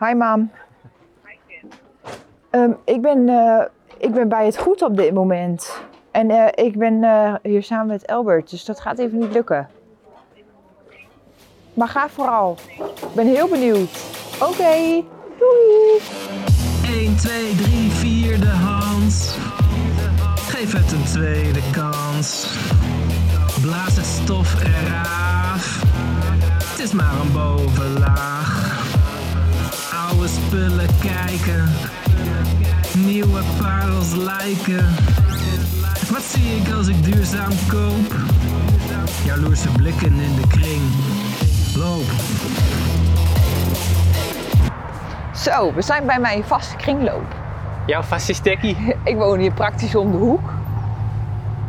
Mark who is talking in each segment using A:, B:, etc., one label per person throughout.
A: Hi mam. Ehm, ik, ben, eh, ik ben bij het goed op dit moment. En eh, ik ben eh, hier samen met Albert, dus dat gaat even niet lukken. Maar ga vooral. Ik ben heel benieuwd. Oké, doei.
B: 1, 2, 3, 4, de hand. Geef het een tweede kans. Blaas het stof eraf. Het is maar een bovenlaag. Oude spullen kijken. Nieuwe parels lijken. Wat zie ik als ik duurzaam koop? Jaloerse blikken in de kring. Loop.
A: Zo, we zijn bij mijn vaste kringloop.
C: Jouw vastistekkie.
A: Ik woon hier praktisch om de hoek.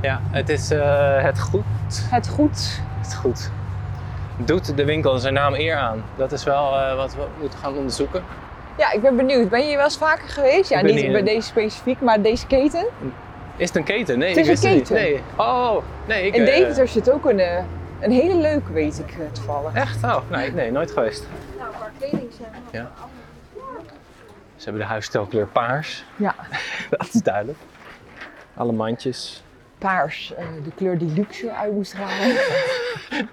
C: Ja, het is eh, het goed.
A: Het goed.
C: Het goed. Doet de winkel zijn naam eer aan? Dat is wel eh, wat we moeten gaan onderzoeken.
A: Ja, ik ben benieuwd. Ben je hier wel eens vaker geweest? Ja,
C: Ik ben
A: niet
C: hier-
A: bij deze specifiek, maar deze keten.
C: Is het een keten? Nee,
A: Het is
C: ik wist
A: een
C: het niet.
A: keten.
C: Nee. Oh, nee. Ik,
A: In
C: eh,
A: Deventer zit ook een, eh, een hele leuke, weet ik eh, toevallig.
C: Echt? Oh, nee, nee, nooit geweest.
D: Nou, qua kleding zijn we
C: Ja. Ze hebben de huisstelkleur paars.
A: Ja,
C: Dat is duidelijk. Alle mandjes.
A: paars, eh, de kleur die luxe uit moest halen.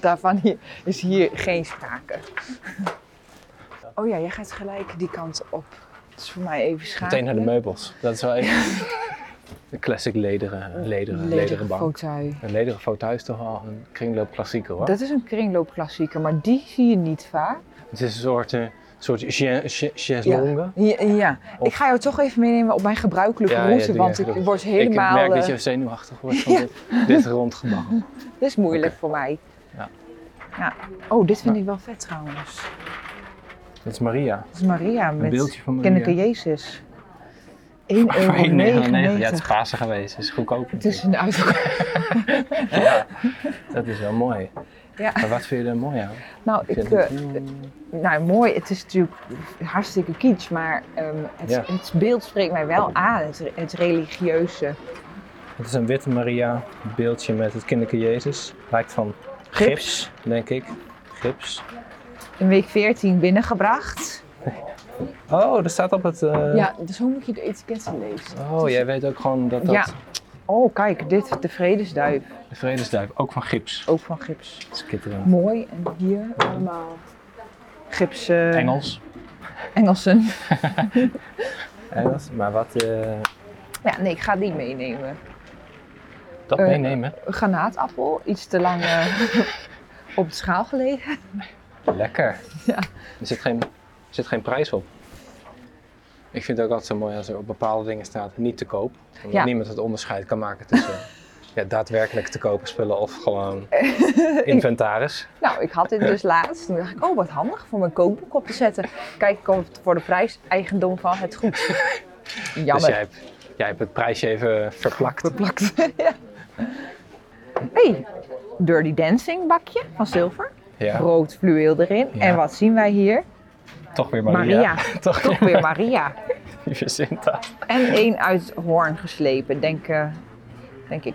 A: Daarvan hier- is hier geen sprake. Oh ja, jij gaat gelijk die kant op. Dat is voor mij even schaam.
C: Meteen naar de meubels. Dat is wel even. Een classic lederen, lederen, lederen eh, bank. Een lederen foto is toch wel een kringloop klassieker hoor.
A: Dat is een kringloopklassieker, maar die zie je niet vaak.
C: Het is een soort, eh soort chaise- chaise- chaiselongue.
A: Ja, ja.
C: Of-
A: ik ga jou toch even meenemen op mijn gebruikelijke
C: Ja, ja,
A: route,
C: doe je,
A: want
C: doe
A: ik
C: je.
A: word helemaal...
C: Ik merk dat
A: eh,
C: je zenuwachtig wordt van dit, dit rondgebabbel.
A: Dit is moeilijk voor mij.
C: Ja.
A: Ja. Oh, dit vind ik wel vet trouwens.
C: Dat is Maria.
A: Dat is Maria
C: Een
A: met
C: beeldje van Maria.
A: Kenneke Jezus. 1,99 euro.
C: Ja, het is Pasen geweest. Het is goedkoop.
A: Het is een uitverkoop.
C: Dat is wel mooi.
A: Ja.
C: Maar wat vind je er mooi aan?
A: Nou,
C: Ik
A: ik,
C: vind het
A: eh,
C: heel-
A: nou, mooi. Het is natuurlijk hartstikke kitsch, maar ehm, het,
C: Ja.
A: het beeld spreekt mij wel aan. Het, het religieuze.
C: Het is een witte Maria beeldje met het kinderke Jezus. Lijkt van gips, denk ik. Gips.
A: In week 14 binnengebracht.
C: Oh, er staat op het... eh,
A: Ja, dus hoe moet je de etiketten lezen?
C: Oh, jij weet ook gewoon dat dat
A: Ja. Oh, kijk, dit, de vredesduif.
C: de vredesduif, ook van gips.
A: Ook van gips.
C: Schitterend.
A: Mooi. En hier allemaal gips. eh,
C: Engels.
A: Engelsen.
C: Engels, maar wat... eh,
A: Ja, nee, ik ga die meenemen.
C: dat
A: Eh,
C: meenemen.
A: Een granaatappel, iets te lang eh, op de schaal gelegen.
C: Lekker.
A: Ja.
C: Er zit geen, er zit geen prijs op. Ik vind het ook altijd zo mooi als er op bepaalde dingen staat niet te koop. Omdat
A: Ja.
C: niemand het onderscheid kan maken tussen ja, daadwerkelijk te kopen spullen of gewoon inventaris.
A: Nou, ik had dit dus laatst. Toen dacht ik, oh wat handig voor mijn kookboek op te zetten. Kijk, ik kom voor de prijs eigendom van het goed.
C: Dus
A: Jammer.
C: jij hebt, jij hebt het prijsje even verplakt.
A: Plakt. ja. Hey, Dirty Dancing bakje van zilver.
C: Ja,
A: Rood fluweel erin.
C: Ja.
A: En wat zien wij hier?
C: toch weer Maria.
A: Maria.
C: Toch
A: Toch weer Maria.
C: weer Jacinta.
A: En één uit Hoorn geslepen, denk, eh, denk ik.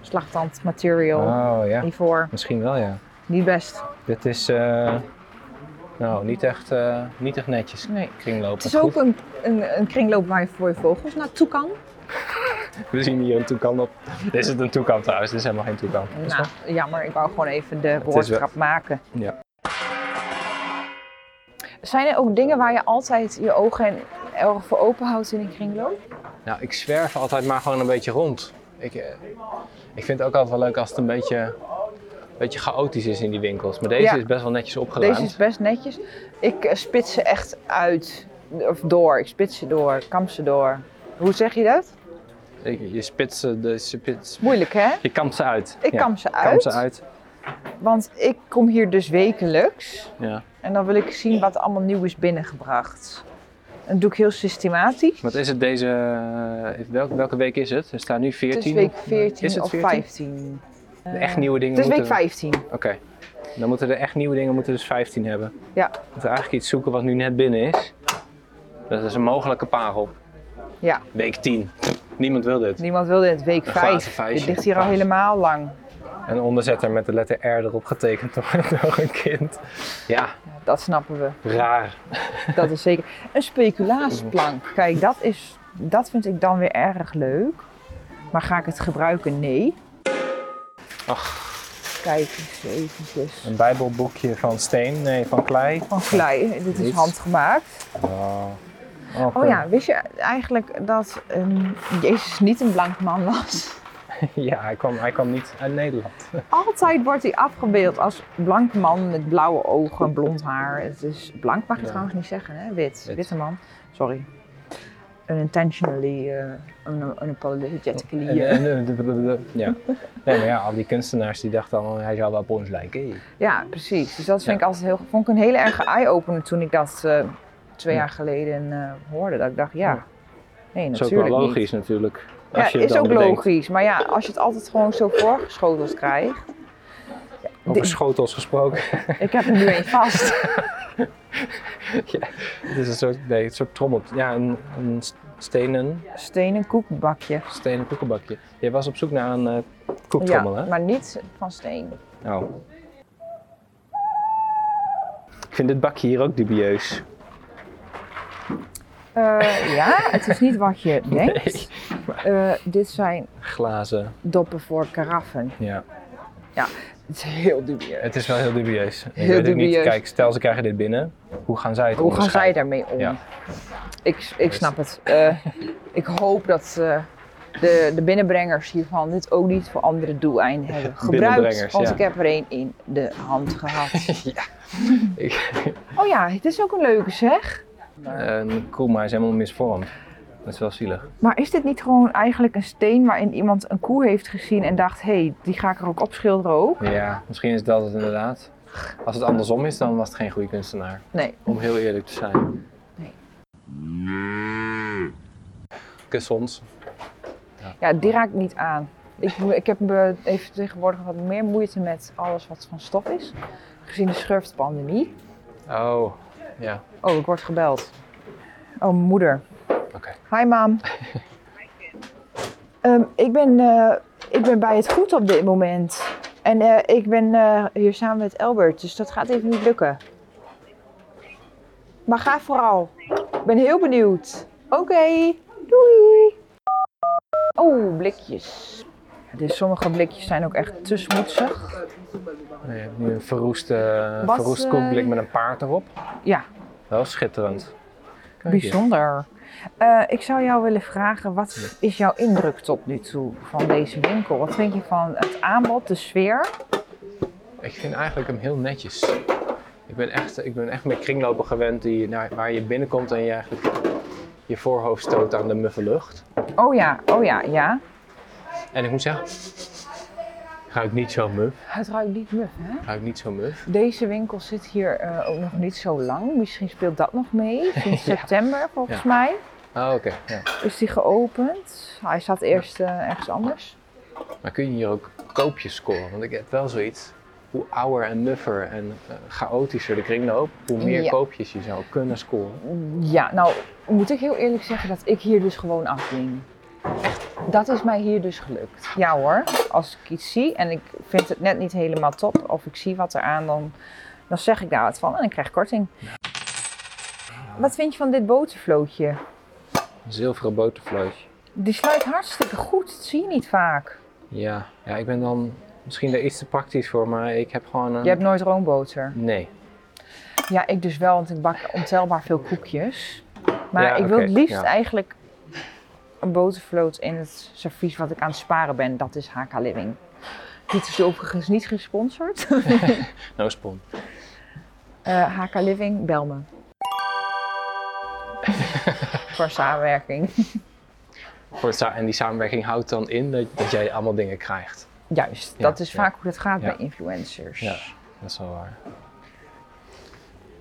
A: Slachtand material.
C: Oh ja,
A: Hiervoor.
C: misschien wel ja.
A: Niet best.
C: Dit is eh, nou, niet echt, eh, niet echt netjes.
A: Nee.
C: Kringlopen.
A: Het is ook een, een, een kringloop waar je voor je vogels naartoe kan.
C: We zien hier een toekan op. Dit is het een toekan trouwens, dit is helemaal geen toekan. Is
A: Nou, jammer, ik wou gewoon even de
C: wel-
A: woordgrap maken.
C: Ja.
A: Zijn er ook dingen waar je altijd je ogen en oren voor open houdt in een kringloop?
C: Nou, ik zwerf altijd maar gewoon een beetje rond. Ik, eh, ik vind het ook altijd wel leuk als het een beetje, een beetje chaotisch is in die winkels. Maar deze
A: Ja.
C: is best wel netjes opgeruimd.
A: Deze is best netjes. Ik eh, spits ze echt uit, of door. Ik spits ze door, kamp ze door. Hoe zeg je dat?
C: Ik- Je spitst ze, de, spits,
A: Moeilijk hè?
C: je kampt ze uit.
A: Ik
C: Ja,
A: kam ze
C: kamp
A: uit,
C: ze uit.
A: want ik kom hier dus wekelijks.
C: Ja.
A: En dan wil ik zien wat er allemaal nieuw is binnengebracht. Dat doe ik heel systematisch.
C: Wat is het deze, eh, welke, welke week is het? Er staan nu 14.
A: Het is week 14
C: Is het
A: of
C: 14?
A: 15.
C: De echt nieuwe dingen
A: Het is week
C: moeten...
A: 15.
C: Oké. Dan moeten de echt nieuwe dingen moeten dus 15 hebben.
A: Ja.
C: We moeten eigenlijk iets zoeken wat nu net binnen is. Dat is een mogelijke parel.
A: Ja.
C: Week 10. Niemand wil dit.
A: Niemand wilde het week
C: Een glazen
A: 5.
C: vuistje.
A: Dit ligt hier al helemaal lang.
C: een onderzetter met de letter R erop getekend door, door een kind. Ja,
A: Ja, dat snappen we.
C: raar.
A: Dat is zeker. Een speculaasplank. Kijk, dat, is, dat vind ik dan weer erg leuk. Maar ga ik het gebruiken? Nee.
C: Ach,
A: Kijk eens eventjes.
C: een bijbelboekje van steen, nee, van klei.
A: Van klei. Dit is
C: Niets.
A: handgemaakt.
C: Oh, oké.
A: Oh ja, wist je eigenlijk dat ehm, Jezus niet een blank man was?
C: eh, Ja, hij kwam, hij kwam niet uit Nederland.
A: Altijd wordt hij afgebeeld als blank man met blauwe ogen, blond haar. Het is blank mag je
C: Ja.
A: trouwens niet zeggen, hè? Wit.
C: Wit.
A: Witte man. Sorry. Unintentionally, eh un- unapologetically.
C: En,
A: eh,
C: en- en- de- de- de- de- ja. Nee, maar ja, al die kunstenaars die dachten allemaal, hij zou wel op ons lijken. Hey.
A: Ja, precies. Dus dat vind
C: Ja.
A: ik altijd heel, vond ik een hele erge eye-opener toen ik dat eh, twee
C: Ja.
A: jaar geleden eh, hoorde. Dat ik dacht, ja,
C: Ja.
A: nee,
C: Dat is ook wel
A: natuurlijk
C: logisch
A: niet.
C: natuurlijk.
A: Ja,
C: Als je het
A: is
C: dan
A: ook
C: bedenkt.
A: logisch. Maar ja, als je het altijd gewoon zo voorgeschoteld krijgt.
C: Over
A: Dit-
C: schotels gesproken.
A: ik heb er nu een vast.
C: Het is een soort, nee, een soort trommel. Ja, een, een stenen,
A: Stenen koekbakje.
C: stenen koekenbakje. Je was op zoek naar een eh,
A: Ja,
C: koektrommel, hè?
A: maar niet van steen.
C: Nou. Ik vind dit bakje hier ook dubieus.
A: Eh, ja, het is niet wat je denkt.
C: Nee.
A: Eh, dit zijn
C: Glazen,
A: doppen voor karaffen.
C: ja.
A: Het is heel dubieus.
C: Het is wel heel dubieus. Ik
A: Heel
C: weet het niet.
A: dubieus.
C: Kijk, stel ze krijgen dit binnen. Hoe gaan zij het
A: Hoe gaan zij
C: onderscheiden?
A: daarmee om?
C: Ja.
A: Ik, ik snap het. Eh, ik hoop dat eh, de, de binnenbrengers hiervan dit ook niet voor andere doeleinden hebben gebruikt.
C: Binnenbrengers,
A: Want
C: ja.
A: ik heb er één in de hand gehad.
C: Ik-
A: Oh ja, het is ook een leuke zeg.
C: Een koe, maar hij is helemaal misvormd. Dat is wel zielig.
A: Maar is dit niet gewoon eigenlijk een steen waarin iemand een koe heeft gezien en dacht, hé, hey, die ga ik er ook op schilderen ook?
C: Ja, misschien is dat het inderdaad. Als het andersom is, dan was het geen goede kunstenaar.
A: Nee.
C: Om heel eerlijk te zijn.
A: Nee.
C: Kus ons.
A: Ja, die raakt niet aan. Ik, ik heb me even tegenwoordig wat meer moeite met alles wat van stof is. Gezien de schurftpandemie.
C: Oh, ja.
A: Oh, ik word gebeld. Oh, moeder.
C: Oké.
A: Hi, mam. Ehm, ik, ben, eh, ik ben bij het goed op dit moment. En eh, ik ben eh, hier samen met Albert, dus dat gaat even niet lukken. Maar ga vooral. Ik ben heel benieuwd. Oké, doei. Oh, blikjes. Dus sommige blikjes zijn ook echt te smoetsig.
C: Je hebt nu een verroeste,
A: Wat,
C: verroest
A: eh,
C: koekblik met een paard erop.
A: Ja,
C: Wel schitterend. Kijk hier.
A: Bijzonder. Eh, ik zou jou willen vragen, wat is jouw indruk tot nu toe van deze winkel? Wat vind je van het aanbod, de sfeer?
C: Ik vind eigenlijk hem heel netjes. Ik ben echt, ik ben echt met kringlopen gewend die, nou, waar je binnenkomt en je eigenlijk je voorhoofd stoot aan de muffe lucht.
A: Oh ja, oh ja, ja.
C: En ik moet zeggen, ruikt niet zo muf.
A: Het ruikt niet muf, hè?
C: Ruikt niet zo muf.
A: Deze winkel zit hier eh, ook nog niet zo lang. Misschien speelt dat nog mee. Sinds
C: Ja.
A: september, volgens
C: Ja.
A: mij,
C: Ah, oké. ja.
A: is die geopend. Hij zat eerst eh, ergens anders.
C: Maar kun je hier ook koopjes scoren? Want ik heb wel zoiets. Hoe ouder en nuffer en eh, chaotischer de kringloop, hoe meer
A: Ja.
C: koopjes je zou kunnen scoren.
A: Ja, nou moet ik heel eerlijk zeggen dat ik hier dus gewoon afding. Dat is mij hier dus gelukt. Ja hoor, als ik iets zie en ik vind het net niet helemaal top of ik zie wat eraan, dan, dan zeg ik daar wat van en ik krijg korting. Wat vind je van dit botervlootje?
C: Een zilveren botervlees.
A: Die sluit hartstikke goed, dat zie je niet vaak.
C: Ja. ja, ik ben dan misschien daar iets te praktisch voor, maar ik heb gewoon een...
A: Je hebt nooit roomboter.
C: Nee.
A: Ja, ik dus wel, want ik bak ontelbaar veel koekjes. Maar
C: Ja,
A: ik wil het
C: oké,
A: liefst
C: ja.
A: eigenlijk een botervloot in het servies wat ik aan het sparen ben. Dat is HK Living. Dit is overigens niet gesponsord.
C: No spon.
A: Eh HK Living, bel me. Voor samenwerking.
C: Voor het sa- en die samenwerking houdt dan in dat, dat jij allemaal dingen krijgt.
A: Juist,
C: Ja,
A: dat is
C: ja.
A: vaak hoe het gaat
C: Ja.
A: bij influencers.
C: Ja, dat is wel waar.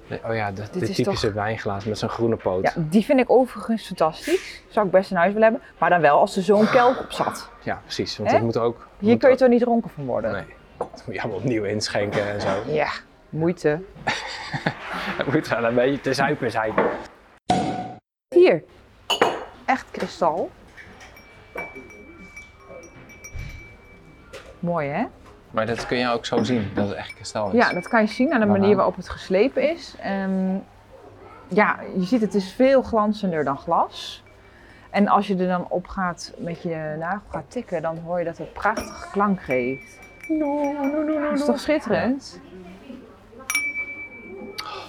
C: Nee, Oh ja, dat,
A: Dit
C: dit
A: is
C: typische
A: toch-
C: wijnglaas met zo'n groene poot.
A: Ja, die vind ik overigens fantastisch. Zou ik best in huis willen hebben. Maar dan wel als er zo'n kelk op zat.
C: Ja, precies. Want
A: Hè?
C: dat moet ook...
A: Hier
C: moet
A: kun je
C: ook-
A: toch niet dronken van worden?
C: Nee. Dat moet je allemaal opnieuw inschenken en zo.
A: Ja, moeite.
C: Het moet wel een beetje te zuipen zijn.
A: Hier. Echt kristal. Mooi hè?
C: Maar dat kun je ook zo zien, dat het echt kristal is.
A: Ja, dat kan je zien aan de
C: Waaraan?
A: manier waarop het geslepen is. Ehm, ja, je ziet het is veel glanzender dan glas. En als je er dan op gaat met je nagel gaat tikken, dan hoor je dat het prachtige klank geeft. Dat is toch schitterend?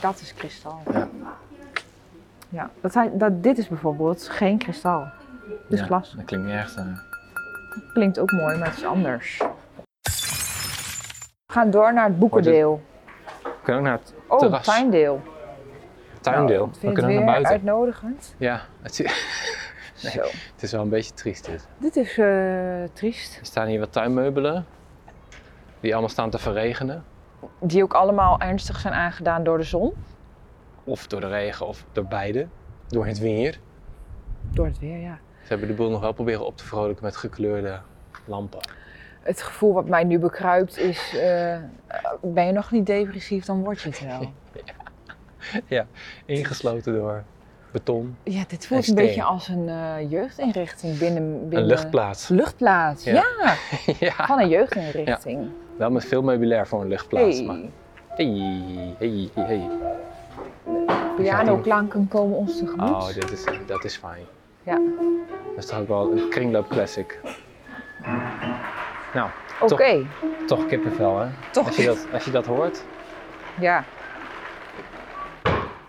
A: Dat is kristal.
C: Ja.
A: Ja, dat zijn, dat, dit is bijvoorbeeld geen kristal. Het is
C: Ja,
A: glas.
C: Dat klinkt niet echt. eh,
A: Klinkt ook mooi, maar het is anders. We gaan door naar het boekendeel.
C: We kunnen ook naar het
A: Oh, het
C: terras,
A: tuindeel.
C: tuindeel.
A: Nou, ik
C: we
A: vind
C: kunnen ook
A: het
C: naar
A: weer
C: buiten.
A: uitnodigend.
C: Ja, het, is-
A: Zo.
C: het is wel een beetje triest dit.
A: Dit is eh, triest.
C: Er staan hier wat tuinmeubelen. Die allemaal staan te verregenen.
A: Die ook allemaal ernstig zijn aangedaan door de zon.
C: Of door de regen, of door beide. Door het weer.
A: Door het weer, ja.
C: Ze hebben de boel nog wel proberen op te vrolijken met gekleurde lampen.
A: Het gevoel wat mij nu bekruipt is, eh, ben je nog niet depressief, dan word je het wel.
C: Ingesloten door beton.
A: Ja, dit
C: En
A: voelt een
C: steen.
A: beetje als een eh, jeugdinrichting binnen, binnen...
C: Een luchtplaats.
A: Luchtplaats,
C: Ja.
A: ja.
C: ja,
A: Van een jeugdinrichting.
C: wel met veel meubilair voor een luchtplaats.
A: Hey,
C: maar- Hey, hey, hey, hey.
A: pianoklanken komen ons tegemoet.
C: Oh, dit is, dat is fijn.
A: Ja.
C: Dat is toch ook wel een kringloopclassic. Nou,
A: Oké,
C: toch kippenvel hè?
A: toch.
C: Als je dat, als je dat hoort.
A: Ja.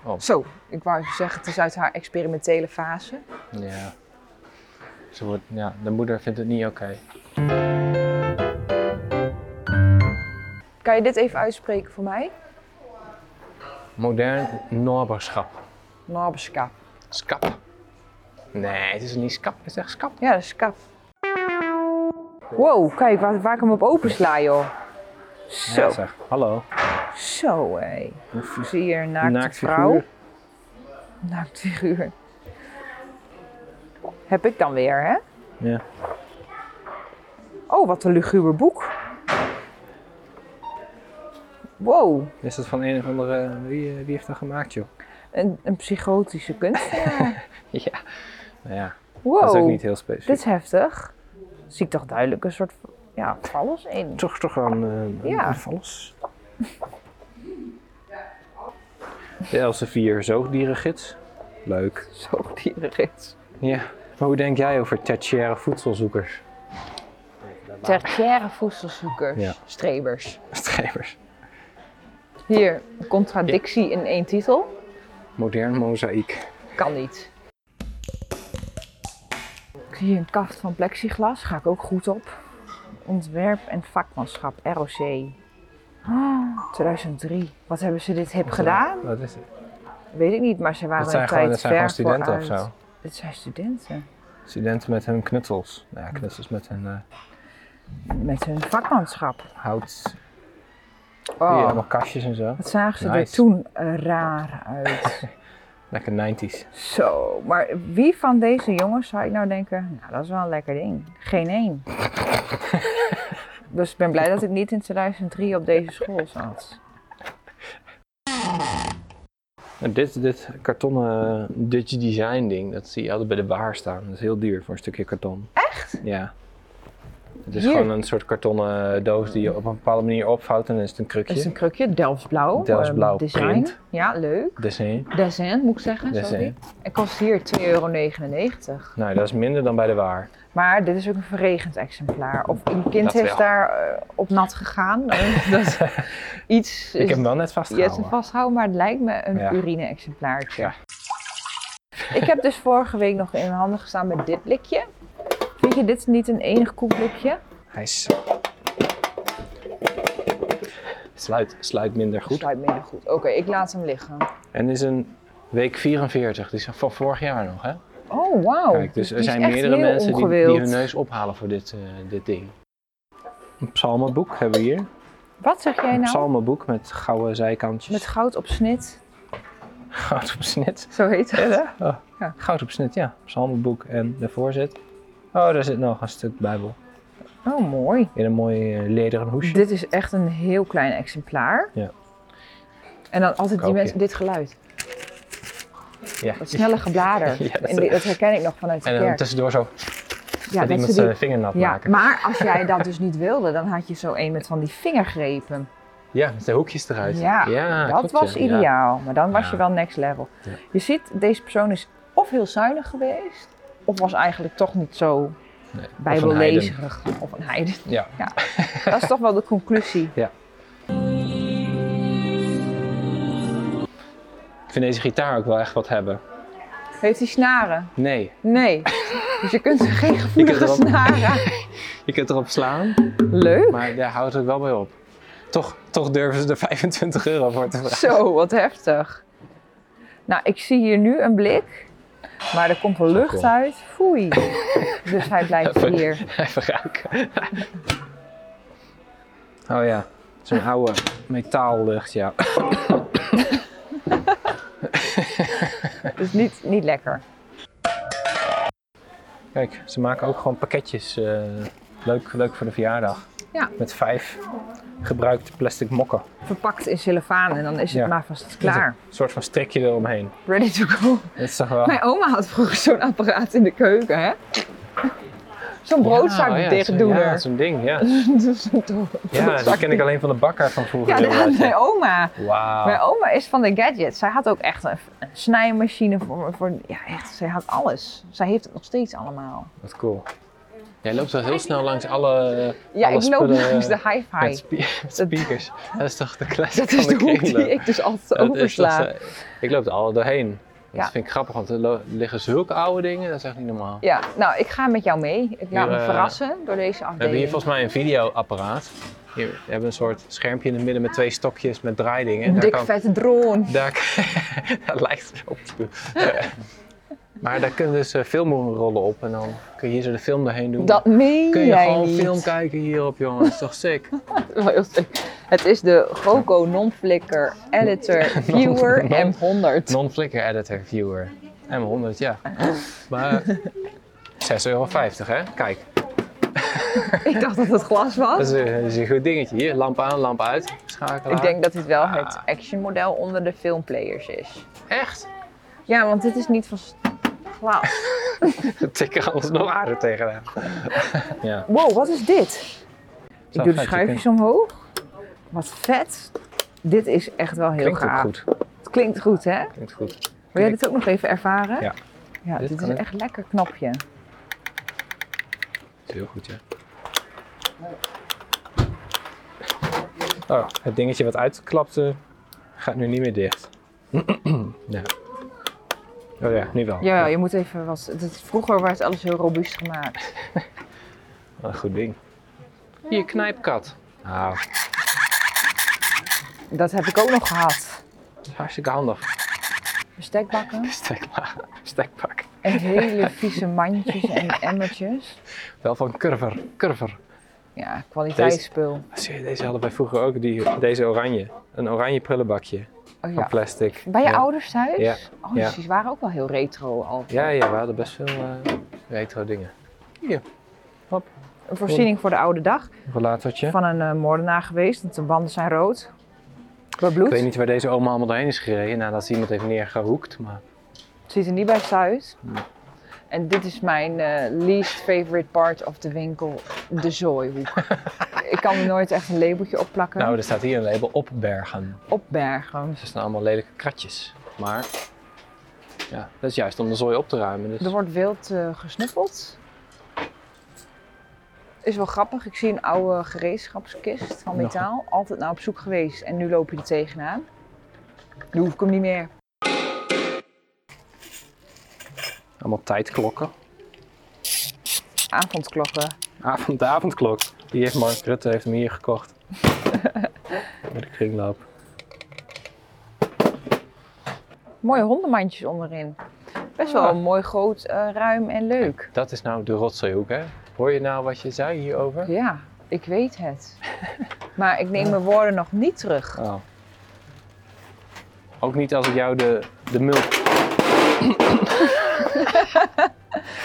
C: Oh.
A: Zo, ik wou even zeggen, het is uit haar experimentele fase.
C: Ja. Ze wordt, ja, de moeder vindt het niet oké.
A: Kan je dit even uitspreken voor mij?
C: Modern naberschap.
A: Naberskap.
C: Skap. Nee, het is niet skap, het is echt skap.
A: Ja, dat is kap. Wow, kijk waar, waar ik hem op opensla, joh. Zo,
C: Ja, zeg. Hallo.
A: zo hé. Zie je een naakte
C: Naakt figuur.
A: vrouw? Naakt figuur. Heb ik dan weer, hè?
C: Ja.
A: Oh, wat een luguber boek. Wow,
C: Is dat van een of andere. Wie, eh, wie heeft dat gemaakt, joh?
A: een, een psychotische kunst.
C: Ja. Nou ja,
A: Wow.
C: dat is ook niet heel specifiek.
A: Dit is heftig. Zie ik toch duidelijk een soort ja, vallus in.
C: Toch, toch aan een
A: Ja. een
C: vallus. De Elsevier zoogdierengids. Leuk.
A: Zo dierengids.
C: Ja. Maar hoe denk jij over tertiaire voedselzoekers?
A: Tertiaire voedselzoekers,
C: Ja.
A: strebers.
C: Schrijvers.
A: Hier, contradictie in één titel.
C: Modern mozaïek.
A: Kan niet. Ik zie hier een kaft van plexiglas, ga ik ook goed op. Ontwerp en vakmanschap, ROC. Ah, 2003. Wat hebben ze dit hip gedaan?
C: Wat is het?
A: Weet ik niet, maar ze waren
C: Dat zijn
A: een
C: gewoon,
A: tijd
C: dat zijn gewoon
A: ver
C: studenten of
A: vooruit.
C: zo.
A: Het zijn studenten.
C: Studenten met hun knutsels. Nou ja, knutsels met hun eh,
A: Met hun vakmanschap.
C: hout.
A: Oh.
C: Hier, allemaal kastjes en zo.
A: Wat zagen ze er
C: Nice.
A: toen raar uit.
C: Lekker 90s.
A: Zo, maar wie van deze jongens zou ik nou denken, nou dat is wel een lekker ding. Geen één. dus ik ben blij dat ik niet in 2003 op deze school zat.
C: En Nou, dit, dit kartonnen Dutch design ding, dat zie je altijd bij de baar staan. Dat is heel duur voor een stukje karton. Echt? Ja. Het is
A: Hier.
C: gewoon een soort kartonnen eh, doos die je op een bepaalde manier opvouwt en dan is het een krukje.
A: Het is een krukje, Delftsblauw.
C: Delftsblauw
A: ehm, design.
C: print.
A: Ja, leuk.
C: Design.
A: Design moet ik zeggen, sorry.
C: Design.
A: En kost hier 2,99 euro.
C: Nou, dat is minder dan bij de waar.
A: Maar dit is ook een verregend exemplaar. Of een kind
C: Dat
A: heeft
C: wel.
A: daar eh, op nat gegaan. Eh, dat is iets
C: Ik heb
A: is
C: hem wel net
A: Je hebt hem
C: vastgehouden.
A: vasthouden, maar het lijkt me een
C: Ja.
A: urine-exemplaartje.
C: Ja.
A: Ik heb dus vorige week nog in mijn handen gestaan met dit blikje. Vind je dit niet een enig koel blikje?
C: Hij is... Sluit, sluit minder goed.
A: Sluit minder goed. Oké, ik laat hem liggen.
C: En dit is een week 44, die is van vorig jaar nog, hè?
A: Oh, wauw.
C: Kijk, dus er
A: die is
C: zijn
A: echt
C: meerdere
A: heel
C: mensen die, die
A: ongewild.
C: hun neus ophalen voor dit, eh, dit ding. Een psalmenboek hebben we hier.
A: Wat zeg jij
C: Een
A: nou?
C: psalmenboek met gouden zijkantjes.
A: Met goud op snit.
C: goud op snit.
A: Zo heet het.
C: Oh,
A: Ja.
C: Goud op snit, ja. Psalmenboek en daarvoor zit... Oh, daar zit nog een stuk Bijbel.
A: Oh, mooi.
C: In een mooi eh, lederen hoesje.
A: Dit is echt een heel klein exemplaar.
C: Ja.
A: En dan altijd die
C: Koopje.
A: mensen, dit geluid.
C: Ja.
A: Dat snelle geblader.
C: Ja, dat-
A: en die- dat herken ik nog vanuit de
C: En dan
A: kerk.
C: tussendoor zo...
A: Ja, dat
C: dat, iemand
A: ze die-
C: zijn vinger nat
A: Ja,
C: maken.
A: maar als jij dat dus niet wilde, dan had je zo een met van die vingergrepen.
C: Ja, met de hoekjes eruit.
A: Ja, dat
C: klopt,
A: was
C: ja. Ja.
A: ideaal, maar dan was
C: Ja.
A: je wel next level.
C: Ja.
A: Je ziet, deze persoon is of heel zuinig geweest, of was eigenlijk toch niet zo
C: Nee, of een heiden.
A: bijbellezerig of een heiden.
C: Ja.
A: Dat is toch wel de conclusie.
C: Ik vind deze gitaar ook wel echt wat hebben.
A: Heeft hij snaren?
C: Nee,
A: Nee. Dus je kunt er geen gevoelige
C: erop-
A: snaren.
C: je kunt erop slaan,
A: Leuk.
C: maar daar houdt het wel bij op. Toch, toch durven ze er 25 euro voor te vragen.
A: Zo, wat heftig. Nou, ik zie hier nu een blik, maar er komt wel lucht
C: Kom.
A: uit. Foei. Dus hij blijft
C: Even-
A: hier.
C: Even ruiken. Oh ja, zo'n oude metaallucht, ja.
A: Dus niet, niet lekker.
C: Kijk, ze maken ook gewoon pakketjes. eh, leuk, leuk voor de verjaardag.
A: Ja.
C: Met vijf gebruikte plastic mokken.
A: Verpakt in cellofaan en dan is het
C: Ja.
A: maar vast klaar.
C: Een soort van strikje eromheen.
A: Ready to go.
C: Dat is toch wel...
A: Mijn oma had vroeger zo'n apparaat in de keuken, hè? Zo'n broodzak
C: Ja, oh
A: ja,
C: ja,
A: dicht
C: zo'n-
A: doen.
C: Ja,
A: er.
C: zo'n ding, ja. Ja,
A: Ja,
C: dat ken ik alleen van de bakker van vroeger.
A: Ja, dat had mijn oma.
C: Ah.
A: Mijn
C: Wauw.
A: oma is van de gadgets. Zij had ook echt een, een snijmachine voor, voor. Ja, echt. Zij had alles. Zij heeft het nog steeds allemaal.
C: Wat cool. Jij loopt wel heel snel langs alle
A: Ja,
C: alle
A: ik loop
C: spullen eh,
A: langs de
C: met,
A: hi-fi.
C: spe- met speakers. Dat is toch de classic
A: Dat is
C: van
A: de
C: de
A: hoek die
C: kringloop?
A: ik dus altijd
C: Dat is toch
A: oversla.
C: zo- Ik loop er alle doorheen. Dat
A: Ja.
C: vind ik grappig, want er lo- liggen zulke oude dingen, dat is echt niet normaal.
A: Ja, nou, ik ga met jou mee. Ik laat
C: Hier,
A: me
C: eh,
A: verrassen door deze afdeling.
C: We hebben hier volgens mij een videoapparaat. Hier, we hebben een soort schermpje in het midden met twee stokjes met draaidingen.
A: Een
C: Daar
A: dik
C: kan-
A: vette drone.
C: Daar, dat lijkt het op. Eh, maar daar kunnen dus eh, filmrollen op en dan kun je hier zo de film doorheen doen.
A: Dat meen
C: kun je
A: jij
C: gewoon
A: niet.
C: film kijken hierop, jongen. Dat is toch sick?
A: Wel heel sick. Het is de GoCo Non-Flicker Editor Viewer
C: non-
A: M100.
C: Non-flicker editor, viewer. M100, ja. Maar 6,50 euro, hè? Kijk,
A: Ik dacht dat het glas
C: dat
A: was.
C: is, een- dat is een goed dingetje. Hier, lamp aan, lamp uit, schakelaar.
A: Ik denk dat dit wel het
C: Ah.
A: actionmodel onder de filmplayers is.
C: Echt?
A: Ja, want dit is niet van s- glas.
C: We tikken alles nog harder tegenaan. ja.
A: Wow, wat is dit? Ik doe
C: Zo
A: de
C: vet, je
A: schuifjes omhoog. Wat vet. Dit is echt wel heel
C: Klinkt ook
A: gaaf.
C: goed.
A: Het klinkt goed, hè?
C: Klinkt goed.
A: Wil jij dit ook nog even ervaren?
C: Ja.
A: Ja,
C: Dit
A: dit,
C: kan
A: is
C: ik.
A: echt lekker knapje.
C: Heel goed, ja. Oh, het dingetje wat uitklapte gaat nu niet meer dicht. ja. Oh ja, nu wel.
A: Ja, je moet even wat. dit- Vroeger werd alles heel robuust gemaakt.
C: Wat een goed ding. Hier, knijpkat. Nou,
A: Dat heb ik ook nog gehad.
C: dat is hartstikke handig.
A: Bestekbakken.
C: Stekla, stekpak.
A: En hele vieze mandjes en emmertjes.
C: Wel van Curver. Curver.
A: Ja, kwaliteitsspul.
C: Zie je, Deze hadden wij vroeger ook, die, deze oranje. Een oranje prullenbakje
A: Oh,
C: van
A: ja.
C: plastic.
A: Bij je
C: ja.
A: ouders thuis?
C: Ja,
A: Oh, dus
C: ja.
A: die waren ook wel heel retro al.
C: Ja, ja, we hadden best veel eh, retro dingen. Hier,
A: Een voorziening voor de oude dag.
C: een relatortje.
A: Van een eh, moordenaar geweest, want de banden zijn rood. Door
C: Ik weet
A: bloed.
C: niet waar deze oma allemaal doorheen is gereden nadat ze iemand heeft neergehoekt. Maar
A: Ziet er niet best uit.
C: Nee.
A: En dit is mijn eh, least favorite part of de winkel, de zooihoek. ik kan er nooit echt een labeltje opplakken.
C: Nou, er staat hier een label opbergen.
A: Opbergen.
C: Er staan allemaal lelijke kratjes. Maar ja, dat is juist om de zooi op te ruimen. Dus
A: Er wordt wild eh, gesnuffeld. Is wel grappig. Ik zie een oude gereedschapskist van
C: Nog een-
A: metaal. Altijd naar op zoek geweest en nu loop je er tegenaan. Nu hoef ik hem niet meer.
C: allemaal tijdklokken.
A: Avondklokken.
C: Avond, Ah, de avondklok. Die heeft Mark Rutte heeft hem hier gekocht. Bij de kringloop.
A: Mooie hondenmandjes onderin. Best wel
C: Ja.
A: mooi, groot, eh, ruim en leuk.
C: Dat is nou de rotzooihoek, hè? Hoor je nou wat je zei hierover?
A: Ja, ik weet het. maar ik neem mijn woorden nog niet terug.
C: Oh. Ook niet als ik jou de, de mulch,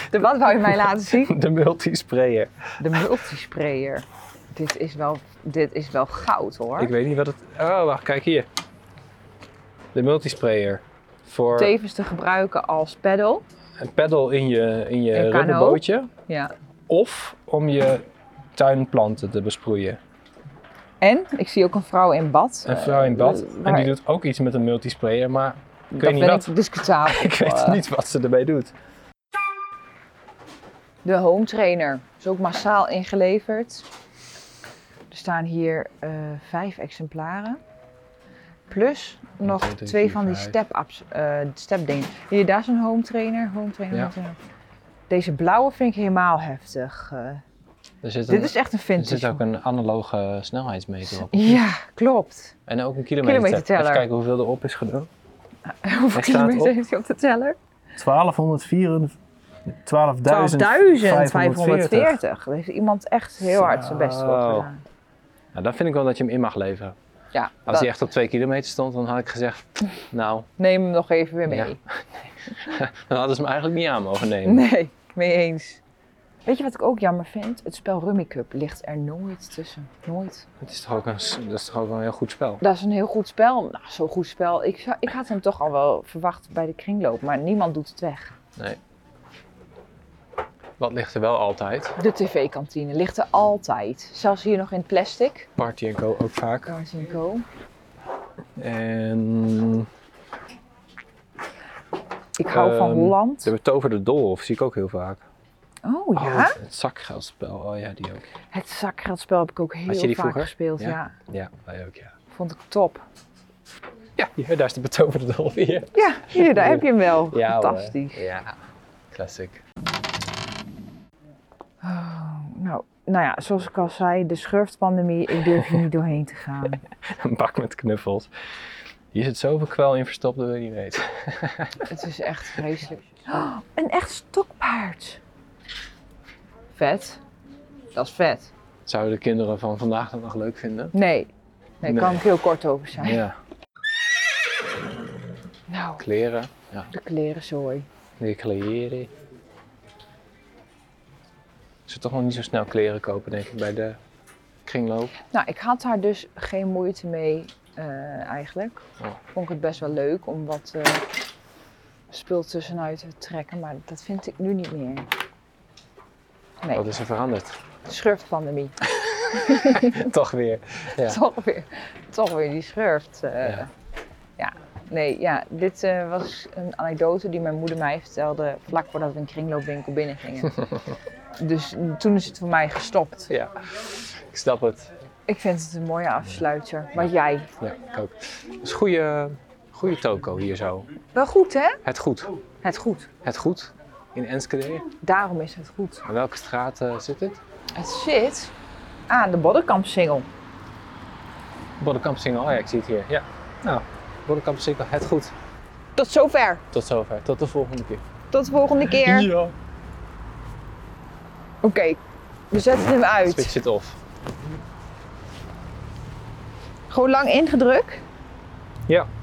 A: De, wat wou je mij laten zien?
C: de multisprayer.
A: De multisprayer. Dit is wel, dit is wel goud hoor.
C: Ik weet niet wat het. Oh, wacht, kijk hier. De multisprayer. Voor
A: Tevens te gebruiken als pedal.
C: een pedal in je, in je
A: Een kano.
C: rubberbootje.
A: Ja.
C: of om je tuinplanten te besproeien.
A: En ik zie ook een vrouw in bad.
C: Een vrouw in bad.
A: Eh,
C: en
A: waar-
C: die doet ook iets met een multisprayer, maar ik
A: dat
C: weet niet
A: ben
C: wat.
A: ik discutabel.
C: Ik weet
A: Eh,
C: niet wat ze erbij doet.
A: De home trainer is ook massaal ingeleverd. Er staan hier eh, vijf exemplaren. Plus nog
C: twee, drie,
A: twee
C: vier,
A: van die
C: vijf.
A: step-ups, eh, stepdingen. Hier, daar is een home trainer. Home trainer,
C: Ja.
A: home trainer. Deze blauwe vind ik helemaal heftig. eh.
C: Er zit,
A: dit
C: een-
A: is echt een
C: er
A: vintage.
C: zit ook een analoge snelheidsmeter op.
A: Ja, klopt.
C: En ook een kilometer.
A: Kilometerteller.
C: Even kijken hoeveel erop is gedaan.
A: Hoeveel
C: Hij staat
A: kilometer
C: op.
A: heeft hij op de teller?
C: 1240. 12.540.
A: 12.540. Daar heeft iemand echt heel hard zijn best voor
C: Zo.
A: gedaan.
C: Nou, dan vind ik wel dat je hem in mag leveren.
A: Ja,
C: Als hij echt op twee kilometer stond, dan had ik gezegd, nou,
A: neem hem nog even weer mee.
C: Ja. dan hadden ze hem eigenlijk niet aan mogen nemen.
A: Nee, mee eens. Weet je wat ik ook jammer vind? Het spel Rummy Cup ligt er nooit tussen. Nooit.
C: Het is toch ook een, s- dat is toch ook wel een heel goed spel.
A: Dat is een heel goed spel. Nou, zo'n goed spel. Ik, zou, ik had hem toch al wel verwacht bij de kringloop, maar niemand doet het weg.
C: Wat ligt er wel altijd?
A: De tv-kantine ligt er altijd. Zelfs hier nog in het plastic.
C: Party Go ook vaak.
A: Guardian Co.
C: En
A: Ik hou van
C: Ehm,
A: Holland.
C: de betoverde dolhof zie ik ook heel vaak.
A: Oh ja.
C: Oh, het zakgeldspel, oh ja, die ook.
A: Het zakgeldspel heb ik ook heel
C: Had je die
A: vaak
C: vroeger?
A: gespeeld. Ja.
C: Ja. Ja, wij ook, ja.
A: vond ik top.
C: Ja, hier, daar is de betoverde dolhof hier.
A: Ja, hier, daar heb je hem wel.
C: Ja, hoor.
A: Fantastisch.
C: Ja, classic.
A: Oh, nou, nou ja, zoals ik al zei, de schurftpandemie, ik durf hier niet doorheen te gaan.
C: Een bak met knuffels. Hier zit zoveel kwel in verstopt dat we niet weten.
A: Het is echt vreselijk. Oh, een echt stokpaard. Vet. Dat is vet.
C: Zouden de kinderen van vandaag dat nog leuk vinden?
A: Nee. Nee, daar kan
C: Nee.
A: ik heel kort over zijn.
C: Ja.
A: Nou,
C: Kleren. Ja.
A: de klerenzooi.
C: De kleren. Ik zou toch nog niet zo snel kleren kopen, denk ik, bij de kringloop.
A: Nou, ik had daar dus geen moeite mee eh, eigenlijk.
C: Oh.
A: Vond ik het best wel leuk om wat eh spul tussenuit te trekken, maar dat vind ik nu niet meer. Nee,
C: Wat is er veranderd?
A: schurftpandemie.
C: toch weer. Ja.
A: toch, weer, toch weer die schurft. eh.
C: Ja.
A: ja. nee, ja, dit eh, was een anekdote die mijn moeder mij vertelde vlak voordat we een kringloopwinkel binnengingen. dus toen is het voor mij gestopt.
C: ja, ik snap het.
A: Ik vind het een mooie afsluiter. Maar jij?
C: Ja, ik ook. Dat is goede, goede toko hier zo.
A: Wel goed, hè?
C: Het Goed.
A: Het goed.
C: Het Goed in Enschede.
A: Daarom is het goed.
C: Aan welke straat eh, zit dit?
A: Het zit aan de Boddenkamp single.
C: Boddenkamp Single. Oh ja, ik zie het hier. Ja. Nou, Boddenkamp Single. Het Goed.
A: Tot zover.
C: Tot zover. Tot de volgende keer.
A: Tot de volgende keer.
C: Ja.
A: Oké, we zetten hem uit.
C: Switch it off.
A: Gewoon lang ingedrukt.
C: Ja.